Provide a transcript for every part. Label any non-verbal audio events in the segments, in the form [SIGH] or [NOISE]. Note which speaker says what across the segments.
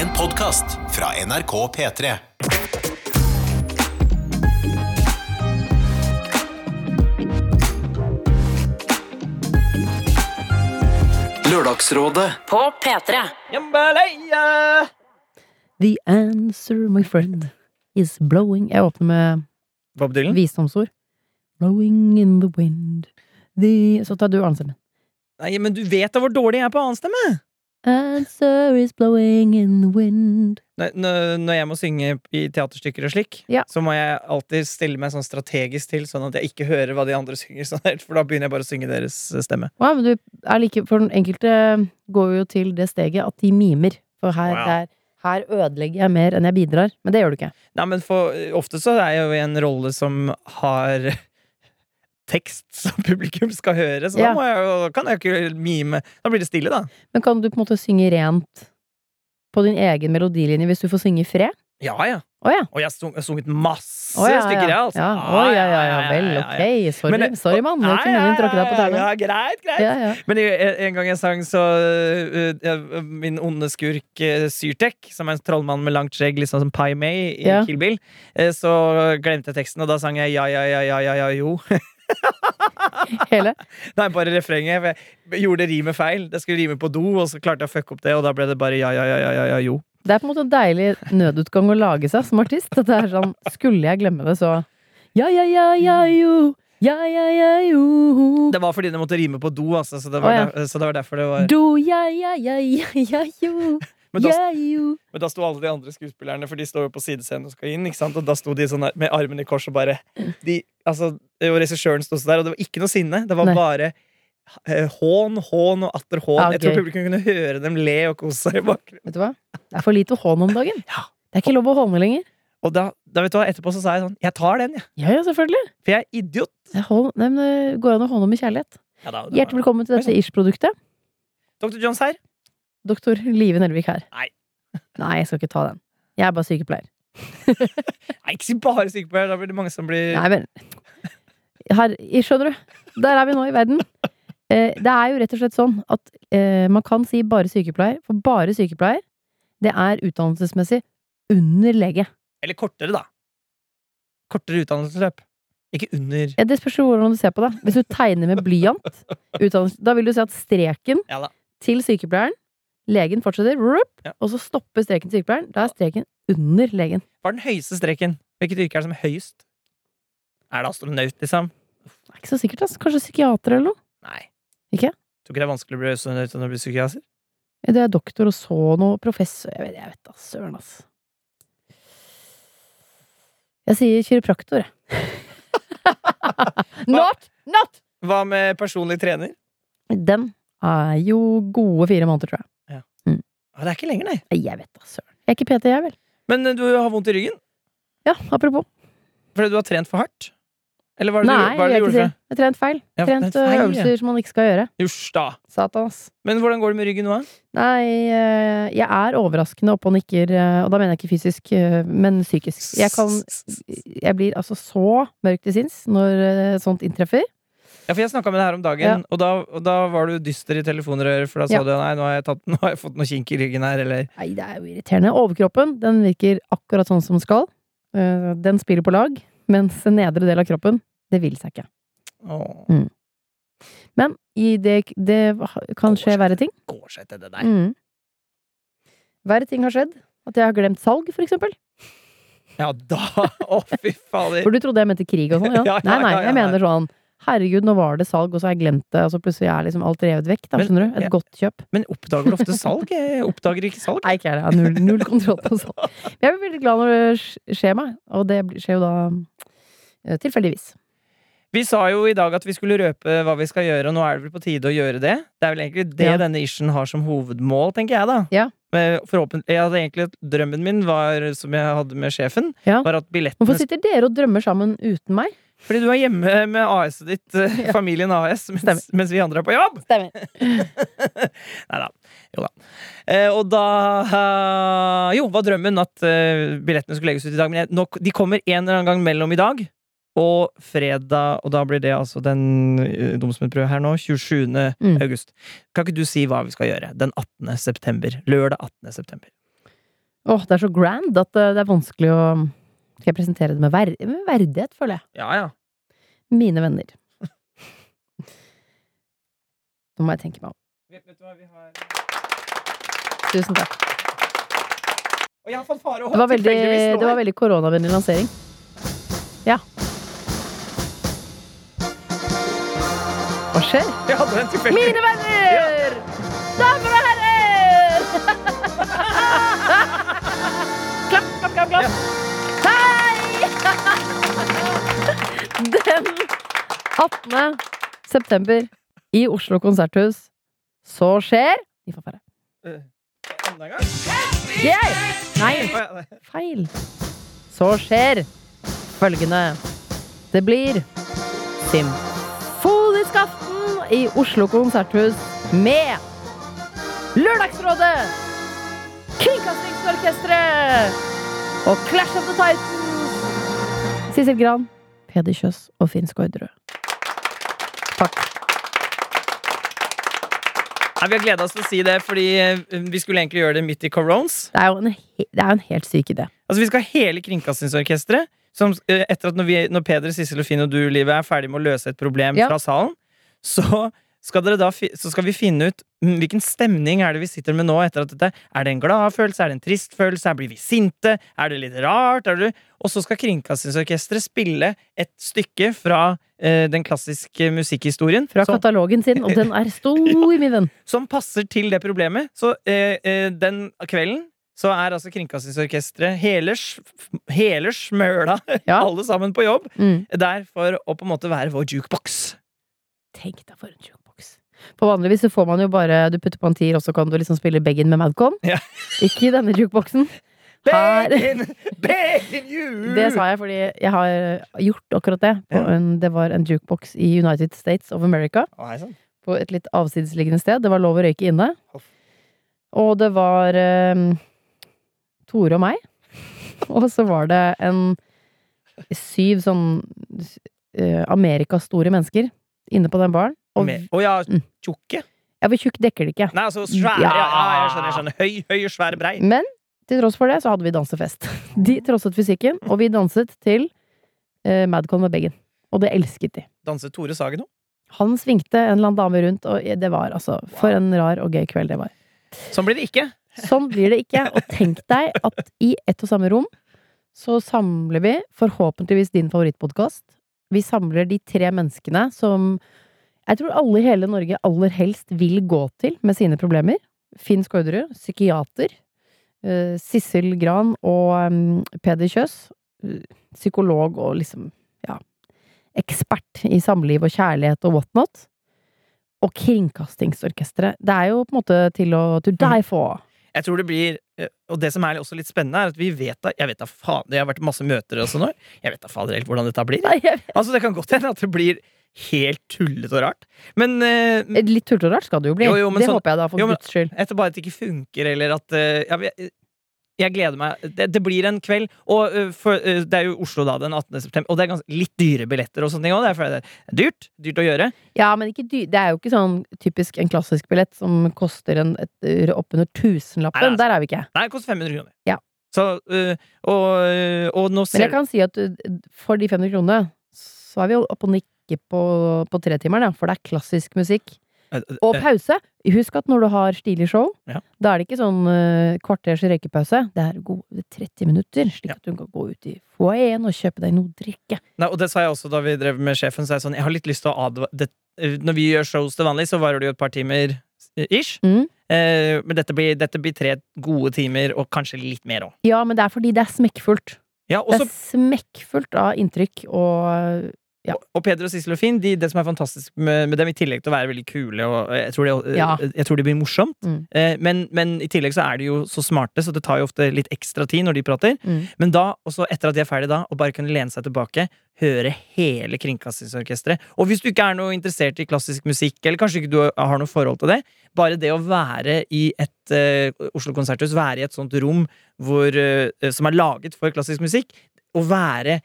Speaker 1: En podkast fra NRK P3.
Speaker 2: Lørdagsrådet
Speaker 3: På P3.
Speaker 4: Jambalaya!
Speaker 5: The answer, my friend, is blowing Jeg åpner med
Speaker 4: Bob Dylan?
Speaker 5: visdomsord. Blowing in the wind The Så tar du annenstemmen.
Speaker 4: Nei, men du vet da hvor dårlig jeg er på annenstemme!
Speaker 5: Answer is blowing in the wind
Speaker 4: Når, når jeg må synge i teaterstykker og slik,
Speaker 5: Ja.
Speaker 4: så må jeg alltid stille meg sånn strategisk til, sånn at jeg ikke hører hva de andre synger, [LAUGHS] sånn, helt, for da begynner jeg bare å synge deres eh, stemme.
Speaker 5: Wow, men du er like For den enkelte går jo til det steget at de mimer. For her,
Speaker 4: Wow.
Speaker 5: der, her ødelegger jeg mer enn jeg bidrar. Men det gjør du ikke.
Speaker 4: Nei, men for, eh, ofte så er jeg jo i en rolle som har [LAUGHS] tekst som [LAUGHS] publikum skal høre, så da
Speaker 5: Ja.
Speaker 4: må jeg jo, kan jeg jo ikke mime. Da blir det stille, da.
Speaker 5: Men kan du på en måte synge rent på din egen melodilinje hvis du får synge i fred?
Speaker 4: Ja, ja.
Speaker 5: Å ja.
Speaker 4: Og jeg har sung- sunget masse
Speaker 5: Å, ja,
Speaker 4: stykker, jeg,
Speaker 5: ja.
Speaker 4: altså.
Speaker 5: Ja. Å, ja, ja, ja, vel, ok. Sorry,
Speaker 4: Men det-
Speaker 5: sorry mann. Det
Speaker 4: Nei,
Speaker 5: var ikke meningen å tråkke deg på
Speaker 4: Ja,
Speaker 5: tærne.
Speaker 4: ja, greit, greit.
Speaker 5: Ja, ja.
Speaker 4: Men jeg- en en gang jeg sang så øh, øh, Min onde skurk øh, Syrtek, som er en trollmann med langt skjegg, litt sånn som Pai May i
Speaker 5: Ja.
Speaker 4: Kill Bill, eh, så glemte jeg teksten, og da sang jeg ja, ja, ja, ja, ja, ja, jo. [LAUGHS]
Speaker 5: Hele.
Speaker 4: Nei, bare refrenget. for Jeg gjorde rimet feil. Det skulle rime på do, og så klarte jeg å fucke opp det, og da ble det bare ja, ja, ja, ja, ja, ja jo.
Speaker 5: Det er på en måte en deilig nødutgang å lage seg som artist. At det er sånn, skulle jeg glemme det, så Ja, ja, ja, ja, jo. Ja, ja, ja, jo.
Speaker 4: Det var fordi det måtte rime på do, altså, så det var,
Speaker 5: Å, ja.
Speaker 4: der, så det var derfor det var
Speaker 5: Do, ja, ja, ja, ja, ja, jo.
Speaker 4: Men da,
Speaker 5: Ja, jo.
Speaker 4: men da sto alle de andre skuespillerne, for de står jo på sidescenen og skal inn, ikke sant? og da sto de sånn der, med armen i kors og bare de, altså, Og regissøren sto også der, og det var ikke noe sinne. Det var
Speaker 5: Nei. Ah,
Speaker 4: bare eh, hån, hån og atter hån.
Speaker 5: Ja,
Speaker 4: Jeg tror
Speaker 5: gøy.
Speaker 4: publikum kunne høre dem le og kose seg i bakgrunnen.
Speaker 5: Vet du hva? Det er for lite hån om dagen.
Speaker 4: Ja.
Speaker 5: Det er ikke lov å håne lenger.
Speaker 4: Og da, da vet du hva, etterpå så sa jeg sånn Jeg tar den, jeg.
Speaker 5: Ja, ja, selvfølgelig.
Speaker 4: For jeg er idiot.
Speaker 5: Det er hån- Nei, men det går an å håne med kjærlighet.
Speaker 4: Ja, da, det var-
Speaker 5: Hjertelig velkommen til dette Ish-produktet.
Speaker 4: Dr. Jones her.
Speaker 5: Doktor Live Nelvik her.
Speaker 4: Nei.
Speaker 5: Nei, jeg skal ikke ta den. Jeg er bare sykepleier.
Speaker 4: Nei, ikke si bare sykepleier. Da blir det mange som blir
Speaker 5: Nei, men her, Skjønner du? Der er vi nå i verden. Eh, det er jo rett og slett sånn at eh, man kan si bare sykepleier, for bare sykepleier, det er utdannelsesmessig under lege.
Speaker 4: Eller kortere, da. Kortere utdannelsesløp. Ikke under
Speaker 5: Ja, det spørs jo hvordan du ser på det. Hvis du tegner med blyant, utdannelse- da vil du si at streken
Speaker 4: Ja da.
Speaker 5: til sykepleieren Legen fortsetter, rup,
Speaker 4: Ja.
Speaker 5: og så stopper streken til sykepleieren. Da er streken under legen.
Speaker 4: Hva er den høyeste streken? Hvilket yrke er det som er høyest? Er det astronaut, liksom?
Speaker 5: Det er ikke så sikkert, ass. Kanskje psykiater eller noe?
Speaker 4: Nei.
Speaker 5: Ikke?
Speaker 4: Tror ikke det er vanskelig å bli astronaut når du blir psykiater.
Speaker 5: Ja, Det er doktor og så noe professor Jeg vet, jeg vet da, søren ass Jeg sier kiropraktor,
Speaker 4: [LAUGHS]
Speaker 5: jeg [LAUGHS] Not, not
Speaker 4: Hva med personlig trener?
Speaker 5: Den er jo gode fire måneder, tror jeg
Speaker 4: Ah, det er ikke lenger, nei.
Speaker 5: Nei, Jeg vet da, søren Jeg er ikke PT, jeg vel
Speaker 4: Men eh, du har vondt i ryggen
Speaker 5: Ja, apropos
Speaker 4: fordi du har trent for hardt? Eller hva er det
Speaker 5: Nei,
Speaker 4: du, hva er det
Speaker 5: jeg
Speaker 4: du
Speaker 5: vil
Speaker 4: gjorde
Speaker 5: ikke si Jeg har trent feil
Speaker 4: Ja,
Speaker 5: Trent
Speaker 4: det er feil, ja.
Speaker 5: øh, øvelser som man ikke skal gjøre
Speaker 4: for Jusj, da.
Speaker 5: Satan, ass
Speaker 4: Men hvordan går det med ryggen nå, da?
Speaker 5: Nei, øh, jeg er overraskende oppe og nikker øh, Og da mener jeg ikke fysisk, øh, men psykisk Jeg kan jeg blir altså så mørk til sinns når eh, sånt inntreffer.
Speaker 4: Ja, for jeg snakka med deg her om dagen,
Speaker 5: Ja.
Speaker 4: og, da, og da var du dyster i telefonrøret, for da sa
Speaker 5: Ja.
Speaker 4: du nei, nå har, jeg tatt, nå har jeg fått noe kink i ryggen her, eller
Speaker 5: Nei, det er jo irriterende. Overkroppen den virker akkurat sånn som den skal. Eh, Den spiller på lag, mens den nedre del av kroppen, det vil seg ikke.
Speaker 4: Åh,
Speaker 5: Men i det, det kan skje verre ting.
Speaker 4: går seg til det der.
Speaker 5: Mm. Verre ting har skjedd. At jeg har glemt salg, for eksempel.
Speaker 4: Eh. Ja, da! [LAUGHS] Å, fy fader.
Speaker 5: For du trodde jeg mente krig og sånn?
Speaker 4: [LAUGHS] Ja,
Speaker 5: Ja.
Speaker 4: ja,
Speaker 5: Nei, nei,
Speaker 4: ja, ja,
Speaker 5: jeg
Speaker 4: nei.
Speaker 5: mener sånn Herregud, nå var det salg, og så har jeg glemt det, og så plutselig er liksom alt revet vekk. Da,
Speaker 4: Men-
Speaker 5: skjønner du?
Speaker 4: ja.
Speaker 5: Et godt kjøp.
Speaker 4: Men oppdager du ofte salg? Jeg oppdager ikke salg.
Speaker 5: Nei, ikke jeg. Jeg har null, null kontroll på sånt. Men jeg blir veldig glad når det sk- skjer meg, og det blir- skjer jo da eh, tilfeldigvis.
Speaker 4: Vi sa jo i dag at vi skulle røpe hva vi skal gjøre, og nå er det vel på tide å gjøre det. Det er vel egentlig det
Speaker 5: Ja.
Speaker 4: denne ishen har som hovedmål, tenker jeg, da.
Speaker 5: Ja.
Speaker 4: Men forhåpent- jeg hadde egentlig Drømmen min, var, som jeg hadde med sjefen,
Speaker 5: Ja.
Speaker 4: var at billettene
Speaker 5: Hvorfor sitter dere og drømmer sammen uten meg?
Speaker 4: Fordi du er hjemme med AS-et ditt, eh,
Speaker 5: Ja.
Speaker 4: familien AS,
Speaker 5: Stemmer.
Speaker 4: mens, mens vi andre er på jobb!
Speaker 5: Stemmer.
Speaker 4: Nei da. Jo da. Eh, og da eh, Jo, var drømmen at eh, billettene skulle legges ut i dag. Men jeg, nå, de kommer en eller annen gang mellom i dag og fredag. Og da blir det altså den eh, domsmennprøva her nå. 27.
Speaker 5: Mm.
Speaker 4: august. Kan ikke du si hva vi skal gjøre? Den 18. september. Lørdag 18. september.
Speaker 5: Åh, det er så grand at eh, det er vanskelig å Skal jeg presentere det med, ver med verdighet, føler jeg.
Speaker 4: Ja, ja.
Speaker 5: Mine venner. Nå må jeg tenke meg om.
Speaker 4: Vet, vet du hva vi har
Speaker 5: Tusen takk.
Speaker 4: Og jeg har fanfare og
Speaker 5: Det var
Speaker 4: hopp
Speaker 5: veldig,
Speaker 4: tilfeldigvis nå
Speaker 5: det var
Speaker 4: her.
Speaker 5: veldig koronavennlig lansering. Ja. Hva skjer?
Speaker 4: [LAUGHS] Jeg hadde den tilfeldig.
Speaker 5: Mine venner! Damer og herrer! klapp, klapp, klapp, klapp. Hei! Den 18. september i Oslo konserthus så skjer Gi faen færre.
Speaker 4: Eh, Enda en gang?
Speaker 5: Yeah! Nei,
Speaker 4: Å, ja, nei.
Speaker 5: feil. Så skjer følgende. Det blir symfonisk aften i Oslo konserthus med Lørdagsrådet, Kringkastingsorkesteret og Clash of the Titans. Sissel Gran, Peder Kjøs og Finn Skårderud. Takk.
Speaker 4: Nei, vi har gleda oss til å si det, fordi eh, vi skulle egentlig gjøre det midt i corones.
Speaker 5: Det er jo en, he- det er jo en helt syk idé.
Speaker 4: Altså, vi skal ha hele Kringkastingsorkesteret. Som, eh, etter at når, vi, når Peder, Sissel og Finn og du, Livet, er ferdig med å løse et problem
Speaker 5: Ja.
Speaker 4: fra salen, så skal, dere da, fi- så skal vi finne ut mm, hvilken stemning er det vi sitter med nå etter at dette. Er det en glad følelse? Er det en trist følelse? Er, blir vi sinte? Er det litt rart? Er det, og så skal Kringkastingsorkesteret spille et stykke fra eh, den klassiske musikkhistorien.
Speaker 5: Fra
Speaker 4: som,
Speaker 5: katalogen sin, og den er stor, min venn.
Speaker 4: som passer til det problemet. Så eh, eh, den kvelden så er altså Kringkastingsorkesteret hele, sj- f- hele smøla, [LAUGHS]
Speaker 5: Ja.
Speaker 4: alle sammen på jobb,
Speaker 5: Mm.
Speaker 4: der for å på en måte være vår jukebox.
Speaker 5: Tenk deg for en jukebox. På vanligvis så får man jo bare Du putter på en tier, og så kan du liksom spille Begin med Madcon.
Speaker 4: Ja.
Speaker 5: [LAUGHS] Ikke i denne jukeboksen. Her-
Speaker 4: Begin, begin you!
Speaker 5: [LAUGHS] Det sa jeg fordi jeg har eh, gjort akkurat det. På
Speaker 4: Uh. Ja.
Speaker 5: en, det var en jukebox i United States of America.
Speaker 4: Å, hei sånn. sann.
Speaker 5: På et litt avsidesliggende sted. Det var lov å røyke inne.
Speaker 4: Huff.
Speaker 5: Og det var eh, Tore og meg. [LAUGHS] Og så var det en syv sånn eh, Amerikas store mennesker inne på den baren. Og
Speaker 4: Med- Å ja,
Speaker 5: Mm.
Speaker 4: tjukke?
Speaker 5: ja, hvor tjukk dekker det ikke.
Speaker 4: Nei, altså svære. Ja,
Speaker 5: Ja.
Speaker 4: ja, jeg skjønner. jeg skjønner Høy, høy, og svær, brei.
Speaker 5: Men til tross for det så hadde vi dansefest. [LAUGHS] De trosset fysikken, og vi danset til eh, Madcon med Beggen. Og det elsket de.
Speaker 4: Danset Tore Sagen òg?
Speaker 5: Han svingte en eller annen dame rundt, og det var altså For en rar og gøy kveld det var.
Speaker 4: Sånn blir det ikke.
Speaker 5: Sånn blir det ikke. Og tenk deg at i ett og samme rom så samler vi forhåpentligvis din favorittpodkast. Vi samler de tre menneskene som jeg tror alle i hele Norge aller helst vil gå til med sine problemer. Finn Skårderud, psykiater. eh, Sissel Gran og em, Peder Kjøs, eh, psykolog og liksom, ja Ekspert i samliv og kjærlighet og whatnot. Og Kringkastingsorkesteret. Det er jo på en måte til å to die for.
Speaker 4: Jeg tror det blir eh, Og det som er også litt spennende, er at vi vet da Jeg vet da faen, det har vært masse møter sånn også nå. Jeg vet da fader helt hvordan dette blir.
Speaker 5: Nei, jeg vet-
Speaker 4: Altså, det kan godt hende at det blir helt tullete og rart. Men eh,
Speaker 5: Litt tullete og rart skal det jo bli.
Speaker 4: Jo, jo, men
Speaker 5: det
Speaker 4: sånn-
Speaker 5: håper jeg da, for
Speaker 4: jo, men-
Speaker 5: guds skyld.
Speaker 4: etter bare at det ikke funker, eller at eh, ja, jeg, jeg gleder meg. Det, det blir en kveld. Og eh, for, eh, det er jo Oslo da, den 18. september, og det er gans- litt dyre billetter og sånne ting òg. Det er fordi det er dyrt. Dyrt å gjøre.
Speaker 5: Ja, men ikke dy det er jo ikke sånn typisk en klassisk billett som koster en et-
Speaker 4: Nei,
Speaker 5: oppunder
Speaker 4: altså, nei.
Speaker 5: tusenlappen. Der er vi ikke.
Speaker 4: Nei, det koster 500 kroner.
Speaker 5: Ja.
Speaker 4: Så, eh, og, eh, og nå
Speaker 5: Men
Speaker 4: ser
Speaker 5: jeg kan si at uh, for de 500 kronene, så er vi jo oppe og nikker på, på tretimeren, ja, for det er klassisk musikk. Og
Speaker 4: Eh,
Speaker 5: pause! Husk at når du har stilig show,
Speaker 4: Ja.
Speaker 5: da er det ikke sånn uh, kvarters røykepause. Det er gode 30 minutter, slik
Speaker 4: Ja.
Speaker 5: at du kan gå ut i foajeen og kjøpe deg noe drikke.
Speaker 4: Nei, og det sa jeg også da vi drev med sjefen. Så er jeg sånn, jeg har litt lyst til å advare det, eh, Når vi gjør shows til vanlig, så varer det jo et par timer eh, ish.
Speaker 5: Mm.
Speaker 4: Eh, men dette blir, dette blir tre gode timer, og kanskje litt mer òg.
Speaker 5: Ja, men det er fordi det er smekkfullt.
Speaker 4: Ja, og så
Speaker 5: det er smekkfullt av inntrykk og Ja.
Speaker 4: Og- Og Peder og Sissel og Finn, de, det som er fantastisk med, med dem, i tillegg til å være veldig kule og og Jeg tror det,
Speaker 5: Ja.
Speaker 4: jeg tror det blir morsomt.
Speaker 5: Mm.
Speaker 4: Eh, men, men i tillegg så er de jo så smarte, så det tar jo ofte litt ekstra tid når de prater. Men da, også etter at de er ferdig da, å bare kunne lene seg tilbake, høre hele Kringkastingsorkesteret. Og hvis du ikke er noe interessert i klassisk musikk, eller kanskje ikke du har noe forhold til det, bare det å være i et eh, Oslo Konserthus, være i et sånt rom hvor, eh, som er laget for klassisk musikk, å være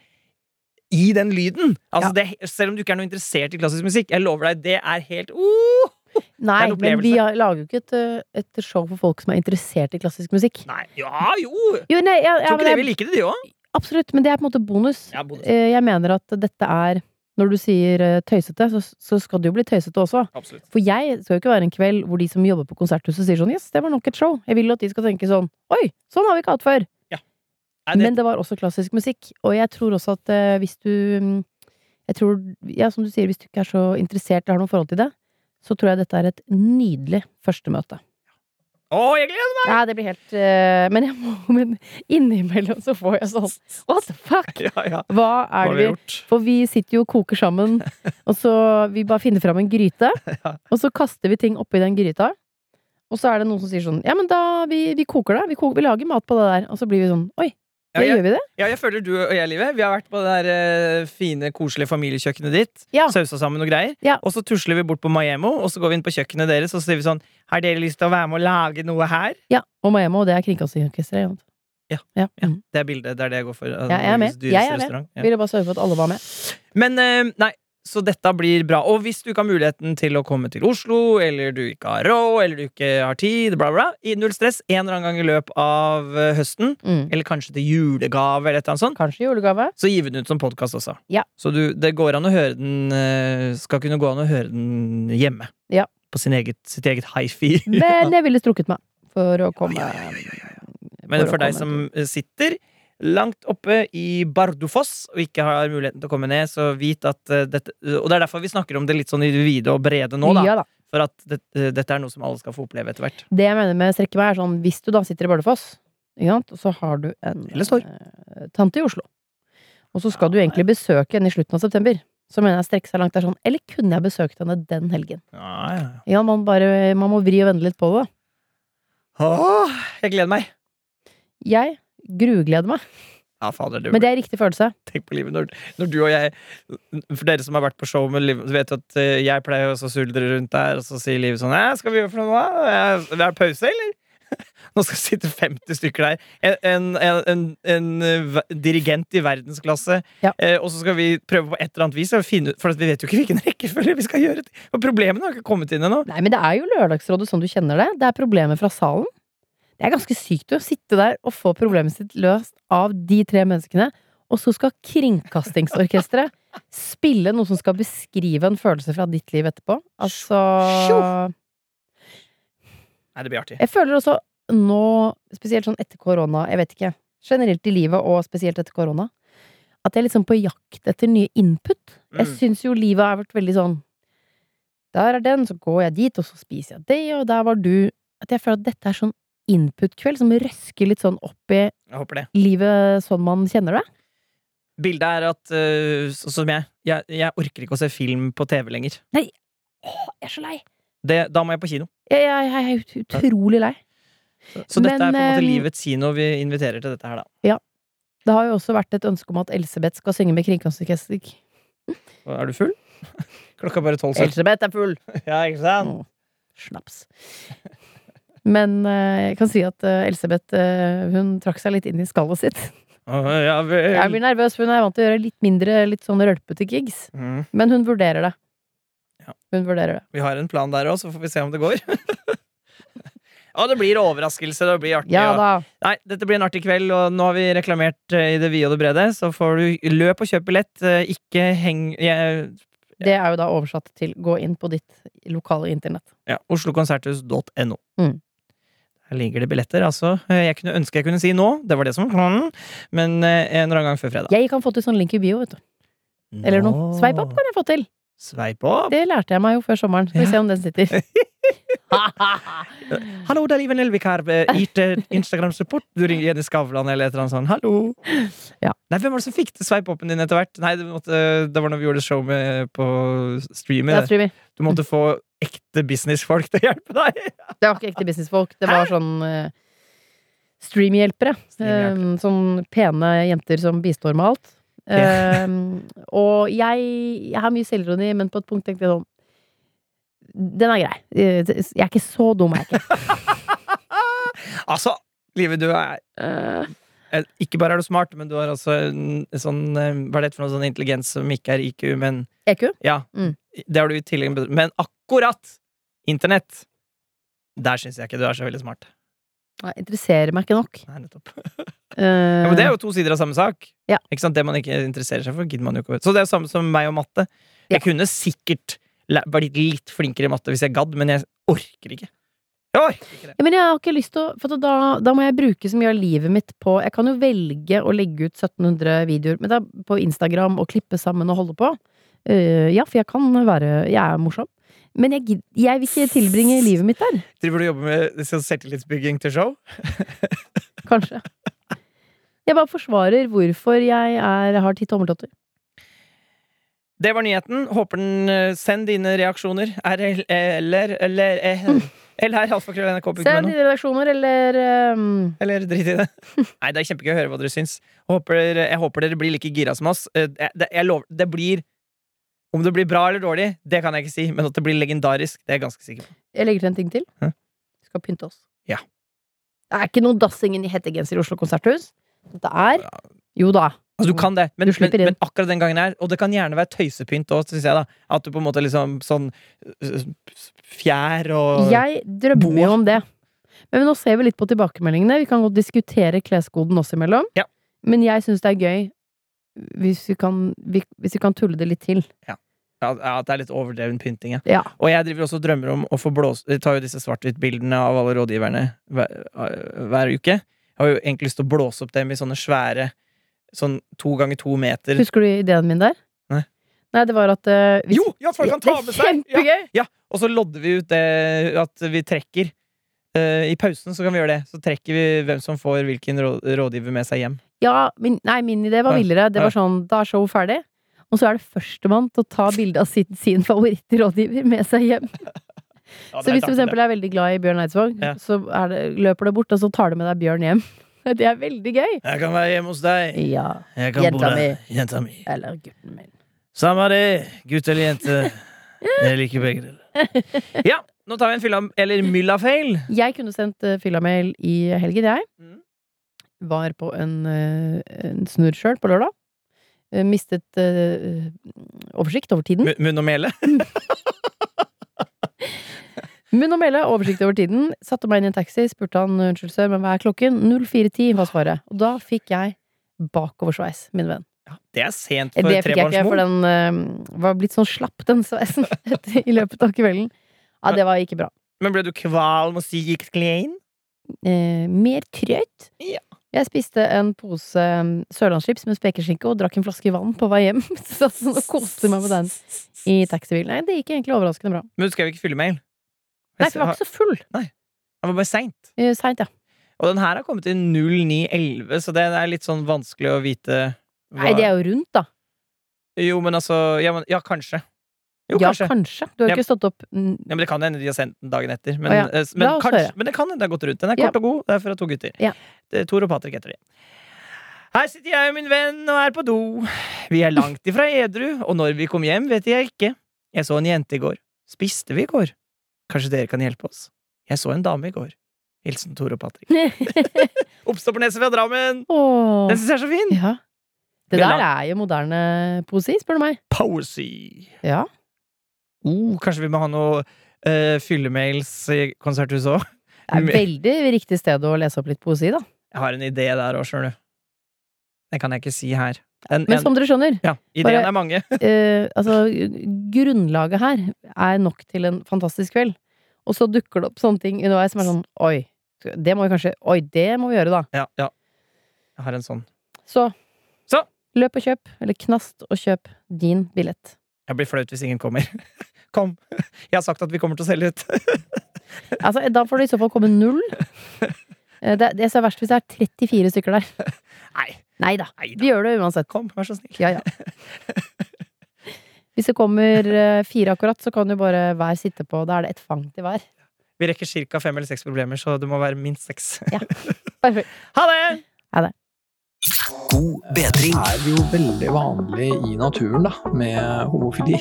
Speaker 4: i den lyden! Altså det, selv om du ikke er noe interessert i klassisk musikk, jeg lover deg, det er helt uh,
Speaker 5: Nei,
Speaker 4: en
Speaker 5: men vi
Speaker 4: opplevelse.
Speaker 5: har- lager jo ikke et, ø, et show for folk som er interessert i klassisk musikk.
Speaker 4: Nei, ja jo! Tror
Speaker 5: Jo, nei, ja, ja,
Speaker 4: ikke det
Speaker 5: men
Speaker 4: vi
Speaker 5: jeg,
Speaker 4: liker det, de òg.
Speaker 5: absolutt, men det er på en måte bonus.
Speaker 4: Ja, bonus.
Speaker 5: Eh, Jeg mener at dette er Når du sier eh, tøysete, så, så skal det jo bli tøysete også.
Speaker 4: Absolutt.
Speaker 5: For jeg skal jo ikke være en kveld hvor de som jobber på konserthuset sier sånn Yes, det var nok et show. Jeg vil at de skal tenke sånn Oi, sånn har vi ikke hatt før.
Speaker 4: Nei, det,
Speaker 5: Men det var også klassisk musikk. Og jeg tror også at eh, hvis du mm, Jeg tror, ja, som du sier, hvis du ikke er så interessert eller har noe forhold til det, så tror jeg dette er et nydelig førstemøte.
Speaker 4: å, jeg gleder meg!
Speaker 5: Ja, det blir helt eh, Men jeg må [LAUGHS] Men innimellom så får jeg sånn What the fuck?
Speaker 4: Ja, ja.
Speaker 5: Hva
Speaker 4: Hva
Speaker 5: er
Speaker 4: har vi
Speaker 5: det vi
Speaker 4: gjort?
Speaker 5: for vi sitter jo og koker
Speaker 4: [LAUGHS]
Speaker 5: sammen, og så vi bare finner fram en gryte. Og så kaster vi ting oppi den gryta. Og så er det noen som sier sånn Ja, men da, vi, vi koker det. Vi, koker, vi lager mat på det der. Og så blir vi sånn Oi,
Speaker 4: Ja,
Speaker 5: ja,
Speaker 4: jeg-
Speaker 5: gjør vi det?
Speaker 4: Ja, jeg føler du og jeg, Live, vi har vært på det der eh, fine, koselige familiekjøkkenet ditt.
Speaker 5: Ja.
Speaker 4: Sausa sammen og greier.
Speaker 5: Ja.
Speaker 4: Og så tusler vi bort på Maiemo, og så går vi inn på kjøkkenet deres og så sier vi sånn Har dere lyst til å være med og lage noe her?
Speaker 5: Ja. Og Miami, og det er Kringkastingorkesteret. ikke sant?
Speaker 4: Ja.
Speaker 5: Ja.
Speaker 4: Ja,
Speaker 5: Mm.
Speaker 4: Det er bildet. Det er det jeg går for. eh,
Speaker 5: Ja, jeg er med.
Speaker 4: Norges
Speaker 5: Jeg er
Speaker 4: dyreste
Speaker 5: med.
Speaker 4: restaurant. Ja.
Speaker 5: Ville bare sørge for at alle var med.
Speaker 4: Men eh, nei, så dette blir bra. Og hvis du ikke har muligheten til å komme til Oslo, eller du ikke har råd, eller du ikke har tid, bla, bla, i null stress, en eller annen gang i løpet av eh, høsten,
Speaker 5: Mm.
Speaker 4: eller kanskje til julegave, eller et eller annet sånt,
Speaker 5: Kanskje
Speaker 4: [LAUGHS]
Speaker 5: julegave.
Speaker 4: så gir vi den ut som podkast også.
Speaker 5: Ja.
Speaker 4: Så du, det går an å høre den eh, skal kunne gå an å høre den hjemme.
Speaker 5: Ja.
Speaker 4: På sin eget, sitt eget
Speaker 5: [LAUGHS]
Speaker 4: hifi.
Speaker 5: Men jeg ville strukket meg for å komme
Speaker 4: Men
Speaker 5: å
Speaker 4: for deg
Speaker 5: komme
Speaker 4: som sitter langt oppe i Bardufoss og ikke har muligheten til å komme ned, så vit at eh, dette Og det er derfor vi snakker om det litt sånn i det vide og brede nå, da.
Speaker 5: Ja, da.
Speaker 4: For at det, eh, dette er noe som alle skal få oppleve etter hvert.
Speaker 5: Det jeg mener med strekke meg, er sånn hvis du da sitter i Bardufoss, ikke sant, og så har du en
Speaker 4: Eller Sorg.
Speaker 5: eh, tante i Oslo, og så skal du egentlig besøke henne i slutten av september, så mener jeg strekke seg langt der sånn, eller kunne jeg besøkt henne den helgen?
Speaker 4: Ja, ja.
Speaker 5: Ja, man bare, man må vri og vende litt på det. da.
Speaker 4: Åh, jeg gleder meg!
Speaker 5: Jeg grugleder meg,
Speaker 4: Ja, fader, du.
Speaker 5: men det er riktig følelse.
Speaker 4: Tenk på livet når, når du og jeg For dere som har vært på show med Liv, vet at eh, jeg pleier også å suldre rundt der, og så sier Liv sånn «Æ, 'Skal vi gjøre for noe nå? da? Eh, Det er pause, eller?' [LAUGHS] Nå skal det sitte 50 stykker der. En, en, en, en eh, ver- dirigent i verdensklasse.
Speaker 5: Ja.
Speaker 4: Eh, og så skal vi prøve på et eller annet vis å finne ut For at vi vet jo ikke hvilken rekkefølge vi skal gjøre. det. Og problemene har ikke kommet inn ennå.
Speaker 5: Nei, men det er jo lørdagsrådet sånn du kjenner det. Det er problemer fra salen. Det er ganske sykt å sitte der og få problemet sitt løst av de tre menneskene, og så skal Kringkastingsorkesteret spille noe som skal beskrive en følelse fra ditt liv etterpå. Altså
Speaker 4: Nei, det blir artig.
Speaker 5: Jeg føler også nå, spesielt sånn etter korona, jeg vet ikke, generelt i livet og spesielt etter korona, at jeg er liksom på jakt etter nye input. Jeg
Speaker 4: Mm.
Speaker 5: syns jo livet har vært veldig sånn Der er den, så går jeg dit, og så spiser jeg det, og der var du At jeg føler at dette er sånn input-kveld som røsker litt sånn opp i
Speaker 4: Jeg håper det.
Speaker 5: livet sånn man kjenner det.
Speaker 4: Bildet er at eh, sånn som jeg, jeg Jeg orker ikke å se film på TV lenger.
Speaker 5: Å, jeg er så lei!
Speaker 4: Det, da må jeg på kino.
Speaker 5: Jeg, jeg, jeg er ut- utrolig lei.
Speaker 4: Så dette er på en måte
Speaker 5: Men, eh,
Speaker 4: livets kino vi inviterer til dette her, da.
Speaker 5: Det har jo også vært et ønske om at Elsebeth skal synge med kringkastingsorkester.
Speaker 4: Og Er du full? [LAUGHS] Klokka er bare tolv selv.
Speaker 5: Elsebeth er full!
Speaker 4: Ja, ikke sant?
Speaker 5: Åh, Snaps. Men eh, jeg kan si at eh, Elsebeth eh, hun trakk seg litt inn i skallet sitt.
Speaker 4: Åh, ja vel.
Speaker 5: Jeg blir nervøs, for hun er vant til å gjøre litt mindre litt sånn rølpete gigs.
Speaker 4: Mm.
Speaker 5: Men hun vurderer det.
Speaker 4: Ja.
Speaker 5: Hun vurderer det.
Speaker 4: Vi har en plan der òg, så får vi se om det går. [LAUGHS] Ja, det blir overraskelse. Det blir artig.
Speaker 5: Ja
Speaker 4: og-
Speaker 5: da.
Speaker 4: Nei, dette blir en artig kveld, og nå har vi reklamert eh, i det vide og det brede. Så får du løp og kjøp billett. eh, Ikke heng jeg-
Speaker 5: Det er jo da oversatt til gå inn på ditt lokale internett.
Speaker 4: ja, oslokonserthus.no.
Speaker 5: Mm.
Speaker 4: Der ligger det billetter, altså. Eh, Jeg kunne ønske jeg kunne si nå, det var det som var planen, men eh, en eller annen gang før fredag.
Speaker 5: Jeg kan få til sånn link i bio, vet du. Eller noe.
Speaker 4: Nå.
Speaker 5: Sveip opp kan jeg få til.
Speaker 4: Sveip opp.
Speaker 5: [LAUGHS] Det lærte jeg meg jo før sommeren. Skal vi
Speaker 4: Ja.
Speaker 5: se om den sitter.
Speaker 4: Hallo, det er Liven Elvik her. eh, IT Instagram-support. Du ringer Jenny Skavlan eller et eller annet sånt. Hallo!
Speaker 5: Ja.
Speaker 4: Nei, hvem var det som fikk til sveip-open din etter hvert? Nei, det, måtte, det var når vi gjorde show med, på streamen.
Speaker 5: Ja, streamer.
Speaker 4: Du måtte få ekte businessfolk til å hjelpe deg.
Speaker 5: Det var ikke ekte businessfolk. Det var sånn eh, streamhjelpere.
Speaker 4: Streamhjelpere.
Speaker 5: Eh, sånn pene jenter som bistår med alt. Eh, og jeg, jeg har mye selvironi, men på et punkt tenkte jeg sånn Den er grei. Eh, Jeg er ikke så dum,
Speaker 4: [LAUGHS]
Speaker 5: er jeg ikke.
Speaker 4: Altså, Live, du er
Speaker 5: Eh,
Speaker 4: eh, Ikke bare er du smart, men du har altså en sånn eh, Hva er det for noe sånn intelligens som ikke er IQ, men
Speaker 5: EQ?
Speaker 4: Ja.
Speaker 5: Mm.
Speaker 4: Det har du i tillegg Men akkurat internett. Der syns jeg ikke du er så veldig smart.
Speaker 5: Jeg interesserer meg ikke nok.
Speaker 4: Nei, nettopp.
Speaker 5: Eh,
Speaker 4: Ja, men det er jo to sider av samme sak.
Speaker 5: Ja.
Speaker 4: Ikke sant? Det man ikke interesserer seg for, gidder man jo ikke å Så det er jo samme som meg og matte.
Speaker 5: Ja.
Speaker 4: Jeg kunne sikkert læ- vært litt flinkere i matte hvis jeg gadd, men jeg orker ikke. Jeg orker ikke det.
Speaker 5: Eh, Ja, men jeg har ikke lyst til å For at da, da må jeg bruke så mye av livet mitt på Jeg kan jo velge å legge ut 1700 videoer men da, på Instagram og klippe sammen og holde på. Eh, ja, for jeg kan være Jeg er morsom. Men jeg, gid- jeg vil ikke tilbringe livet mitt der.
Speaker 4: Driver du og jobber med sånn selvtillitsbygging til show?
Speaker 5: Kanskje. Jeg bare forsvarer hvorfor jeg er, har ti tommeltotter.
Speaker 4: Det var nyheten. Håper den eh, Send dine reaksjoner. RL eller eller
Speaker 5: [LAUGHS]
Speaker 4: eh, eller
Speaker 5: Send
Speaker 4: alfakrøll.nrk.no.
Speaker 5: i redaksjoner eller ehm,
Speaker 4: Eller drit i det. [LAUGHS] Nei, det er kjempegøy å høre hva dere syns. Håper, jeg håper dere blir like gira som oss. Eh, Det, jeg lover, det blir Om det blir bra eller dårlig, det kan jeg ikke si, men at det blir legendarisk, det er jeg ganske sikker på.
Speaker 5: Jeg legger til en ting til.
Speaker 4: Hæ?
Speaker 5: Vi skal pynte oss.
Speaker 4: Ja.
Speaker 5: Det er ikke noe dassingen i hettegenser i Oslo konserthus. Det er Jo da.
Speaker 4: Altså, du kan det, men,
Speaker 5: Du slipper
Speaker 4: men,
Speaker 5: inn.
Speaker 4: men akkurat den gangen her Og det kan gjerne være tøysepynt òg, syns jeg. da At du på en måte liksom sånn øh, Fjær og
Speaker 5: Jeg drømmer
Speaker 4: Boa.
Speaker 5: jo om det. Men nå ser vi litt på tilbakemeldingene. Vi kan godt diskutere kleskoden oss imellom.
Speaker 4: Ja.
Speaker 5: Men jeg syns det er gøy hvis vi, kan, vi- hvis vi kan tulle det litt til.
Speaker 4: Ja, ja, At det er litt overdreven pynting. Ja.
Speaker 5: Ja.
Speaker 4: Og jeg driver også og drømmer om å få blåse Jeg tar jo disse svart-hvitt-bildene av alle rådgiverne hver, øh, hver uke. Jeg har jo egentlig lyst til å blåse opp dem i sånne svære Sånn to ganger to meter
Speaker 5: Husker du ideen min der?
Speaker 4: Nei.
Speaker 5: Nei, det var at eh, hvis,
Speaker 4: Jo! Ja, folk kan ta med seg!
Speaker 5: Det er
Speaker 4: Ja.
Speaker 5: kjempegøy!
Speaker 4: Og så lodder vi ut det at vi trekker. Eh, I pausen så kan vi gjøre det. Så trekker vi hvem som får hvilken rå- rådgiver med seg hjem.
Speaker 5: Ja, min, nei, min idé var
Speaker 4: Ja.
Speaker 5: villere. Det var
Speaker 4: Ja.
Speaker 5: sånn, da er showet ferdig. Og så er det førstemann til å
Speaker 4: [LAUGHS]
Speaker 5: ta bilde av sin, sin favorittrådgiver med seg hjem.
Speaker 4: Ja, det
Speaker 5: Så
Speaker 4: er
Speaker 5: hvis
Speaker 4: tanken,
Speaker 5: du for
Speaker 4: det.
Speaker 5: eksempel er veldig glad i Bjørn Eidsvåg,
Speaker 4: Ja.
Speaker 5: så er det, løper du bort, og så tar du med deg Bjørn hjem. [LAUGHS] Det er veldig gøy!
Speaker 4: Jeg kan være hjemme hos deg.
Speaker 5: Ja.
Speaker 4: Jeg
Speaker 5: Jenta
Speaker 4: Jenta mi.
Speaker 5: Eller gutten min.
Speaker 4: Samme det. Gutt eller jente. Jeg liker begge deler. Ja, nå tar vi en fylla eller myllafeil.
Speaker 5: Jeg kunne sendt eh, fyllamail i helgen, jeg.
Speaker 4: Mm.
Speaker 5: Var på en, eh, en snurr sjøl på lørdag. Eh, Mistet eh, oversikt over tiden.
Speaker 4: Mu- Munn og mele.
Speaker 5: Munn og mele, oversikt over tiden. Satte meg inn i en taxi, spurte han unnskyld sør, men hva er klokken? 04.10 var svaret. Og da fikk jeg bakoversveis, min venn.
Speaker 4: Det er sent
Speaker 5: Eh,
Speaker 4: for
Speaker 5: Det fikk jeg ikke, for
Speaker 4: trebarnsmor.
Speaker 5: den eh, var blitt sånn slapp, den sveisen, [LAUGHS] etter, i løpet av kvelden. Ja, det var ikke bra.
Speaker 4: Men ble du kvalm og sykt
Speaker 5: [LAUGHS]
Speaker 4: klein?
Speaker 5: Eh, mer trøyt.
Speaker 4: Ja.
Speaker 5: Jeg spiste en pose eh, sørlandschips med spekeskinke og drakk en flaske vann på vei hjem. [LAUGHS] Så satt sånn og koste meg med den i taxibilen. Nei, det gikk egentlig overraskende bra.
Speaker 4: Men du skrev ikke fyllemail.
Speaker 5: Nei, for jeg var ikke så full.
Speaker 4: Det var bare seint.
Speaker 5: Eh, Seint, ja.
Speaker 4: Og den her har kommet i 0911, så det er litt sånn vanskelig å vite hva-
Speaker 5: Nei, det er jo rundt, da.
Speaker 4: Jo, men altså Ja, men, ja kanskje. Jo,
Speaker 5: ja,
Speaker 4: kanskje.
Speaker 5: kanskje. Du har
Speaker 4: Ja.
Speaker 5: ikke stått opp mm,
Speaker 4: Ja, men Det kan hende de har sendt den dagen etter. Men,
Speaker 5: Å ja.
Speaker 4: eh, s-
Speaker 5: La
Speaker 4: men,
Speaker 5: oss
Speaker 4: kanskje,
Speaker 5: høre.
Speaker 4: men det kan hende det har gått rundt. Den er
Speaker 5: Ja.
Speaker 4: kort og god. Det er fra to gutter.
Speaker 5: Ja.
Speaker 4: Det er Tor og Patrick heter de. Her sitter jeg og min venn og er på do. Vi er langt ifra edru, og når vi kom hjem, vet jeg ikke. Jeg så en jente i går. Spiste vi i går? Kanskje dere kan hjelpe oss? Jeg så en dame i går. Hilsen Tor og Patrick. Oppstopperneset fra Drammen!
Speaker 5: Åh.
Speaker 4: Den syns jeg er så fin!
Speaker 5: Ja. Det
Speaker 4: Vi
Speaker 5: der
Speaker 4: la-
Speaker 5: er jo moderne poesi, spør du meg.
Speaker 4: Posey.
Speaker 5: Ja.
Speaker 4: Oh, kanskje vi må ha noe eh, fyllemails i konserthuset òg?
Speaker 5: Det er
Speaker 4: Men-
Speaker 5: veldig riktig sted å lese opp litt poesi, da.
Speaker 4: Jeg har en idé der òg, skjønner du. Det kan jeg ikke si her. En,
Speaker 5: Men
Speaker 4: en,
Speaker 5: som dere skjønner,
Speaker 4: ja, ideen
Speaker 5: bare-
Speaker 4: er mange. [LAUGHS]
Speaker 5: eh, altså, grunnlaget her er nok til en fantastisk kveld. Og så dukker det opp sånne ting underveis som er sånn Oi, det må vi kanskje Oi, det må vi gjøre, da.
Speaker 4: Ja, ja. Jeg har en sånn.
Speaker 5: Så,
Speaker 4: Så.
Speaker 5: løp og kjøp, eller knast og kjøp din billett.
Speaker 4: Jeg blir flaut hvis ingen kommer. [LAUGHS] Kom! Jeg har sagt at vi kommer til å selge ut. [LAUGHS]
Speaker 5: Altså, da får det i så fall komme null. Eh, Det, det som er verst hvis det er 34 stykker der.
Speaker 4: Nei,
Speaker 5: Nei da.
Speaker 4: nei da.
Speaker 5: Vi gjør det uansett.
Speaker 4: Kom, vær så snill.
Speaker 5: Ja, ja. Hvis det kommer eh, fire akkurat, så kan du bare hver sitte på. Da er det ett fang til hver.
Speaker 4: Vi rekker ca. fem eller seks problemer, så det må være minst seks. [LAUGHS]
Speaker 5: Perfekt.
Speaker 4: Ha det!
Speaker 1: God bedring.
Speaker 2: er jo veldig vanlig i naturen da, med homofili.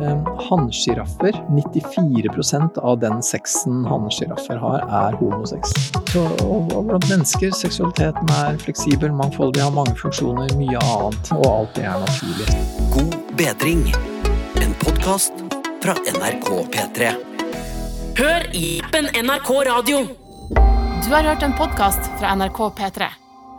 Speaker 2: Eh, Hannsjiraffer, 94 av den sexen hannsjiraffer har, er homosex. Så, og, og blant mennesker, seksualiteten er fleksibel, mangfoldig, har mange funksjoner, mye annet. Og alt det er naturlig.
Speaker 1: God bedring. En podkast fra NRK P3. Hør i appen NRK Radio.
Speaker 6: Du har hørt en podkast fra NRK P3.